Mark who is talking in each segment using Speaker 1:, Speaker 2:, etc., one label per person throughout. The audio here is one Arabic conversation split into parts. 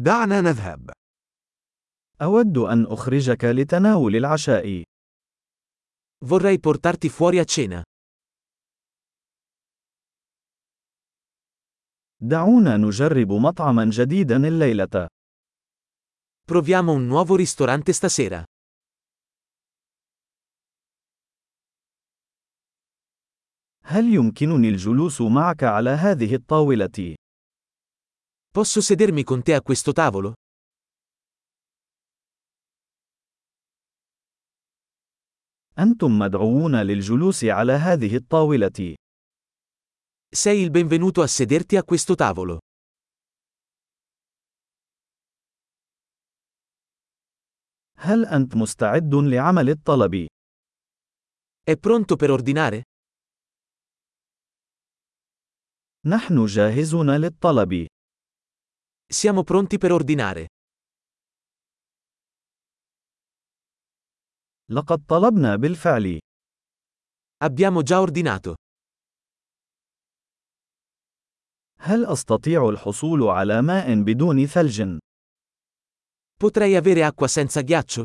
Speaker 1: دعنا نذهب.
Speaker 2: أود أن أخرجك لتناول العشاء.
Speaker 1: Vorrei portarti fuori a cena.
Speaker 2: دعونا نجرب مطعما جديدا الليلة.
Speaker 1: Proviamo un nuovo ristorante stasera.
Speaker 2: هل يمكنني الجلوس معك على هذه الطاولة؟
Speaker 1: Posso sedermi con te a questo tavolo?
Speaker 2: أنتم مدعوون للجلوس على هذه الطاولة.
Speaker 1: Sei il benvenuto a sederti a questo tavolo.
Speaker 2: هل أنت مستعد لعمل الطلب؟
Speaker 1: È pronto per ordinare?
Speaker 2: نحن جاهزون للطلب.
Speaker 1: Siamo pronti per ordinare.
Speaker 2: لقد طلبنا بالفعل.
Speaker 1: Abbiamo già ordinato.
Speaker 2: هل أستطيع الحصول على ماء بدون ثلج؟
Speaker 1: Potrei avere acqua senza ghiaccio?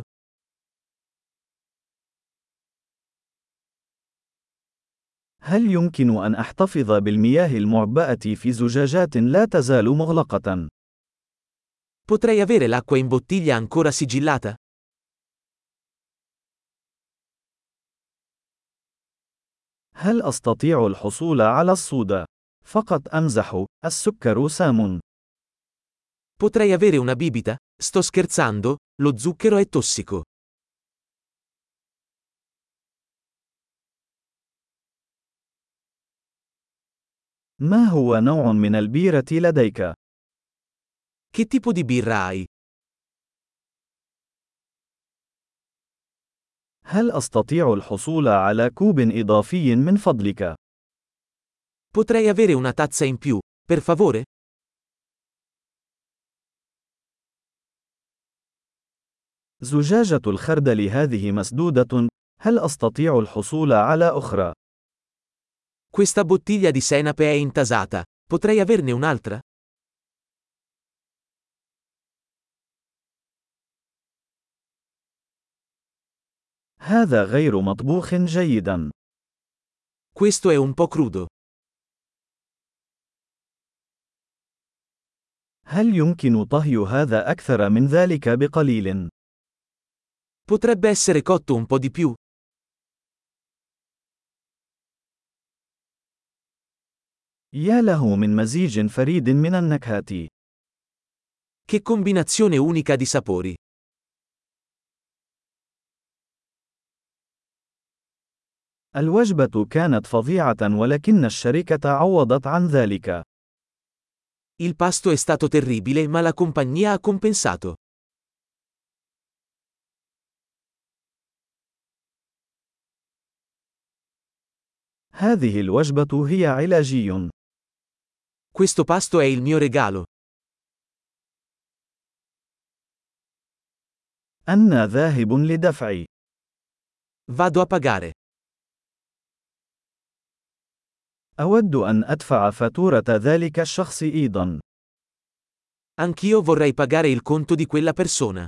Speaker 2: هل يمكن أن أحتفظ بالمياه المعبأة في زجاجات لا تزال مغلقة؟
Speaker 1: Potrei avere l'acqua in bottiglia ancora sigillata?
Speaker 2: هل أستطيع الحصول على الصودا؟ فقط أمزح، السكر سام.
Speaker 1: Potrei avere una bibita? Sto scherzando, lo zucchero è tossico.
Speaker 2: ما هو نوع من البيرة لديك؟
Speaker 1: Che tipo di birra hai?
Speaker 2: هل أستطيع الحصول على كوب إضافي من فضلك؟
Speaker 1: Potrei avere una tazza in più, per favore?
Speaker 2: زجاجة الخردل هذه مسدودة، هل أستطيع الحصول على أخرى؟
Speaker 1: Questa bottiglia di senape è intasata. Potrei averne un'altra?
Speaker 2: هذا غير مطبوخ جيدا.
Speaker 1: Questo è un po' crudo.
Speaker 2: هل يمكن طهي هذا أكثر من ذلك بقليل؟
Speaker 1: Potrebbe essere cotto un po' di più.
Speaker 2: يا له من مزيج فريد من النكهات.
Speaker 1: Che combinazione unica di sapori.
Speaker 2: الوجبة كانت فظيعة ولكن الشركة عوضت عن ذلك.
Speaker 1: Il pasto è stato terribile ma la compagnia ha compensato.
Speaker 2: هذه الوجبة هي علاجي.
Speaker 1: Questo pasto è il mio regalo.
Speaker 2: أنا ذاهب لدفع.
Speaker 1: Vado a pagare.
Speaker 2: أود أن أدفع فاتورة ذلك الشخص أيضا.
Speaker 1: Anch'io vorrei pagare il conto di quella persona.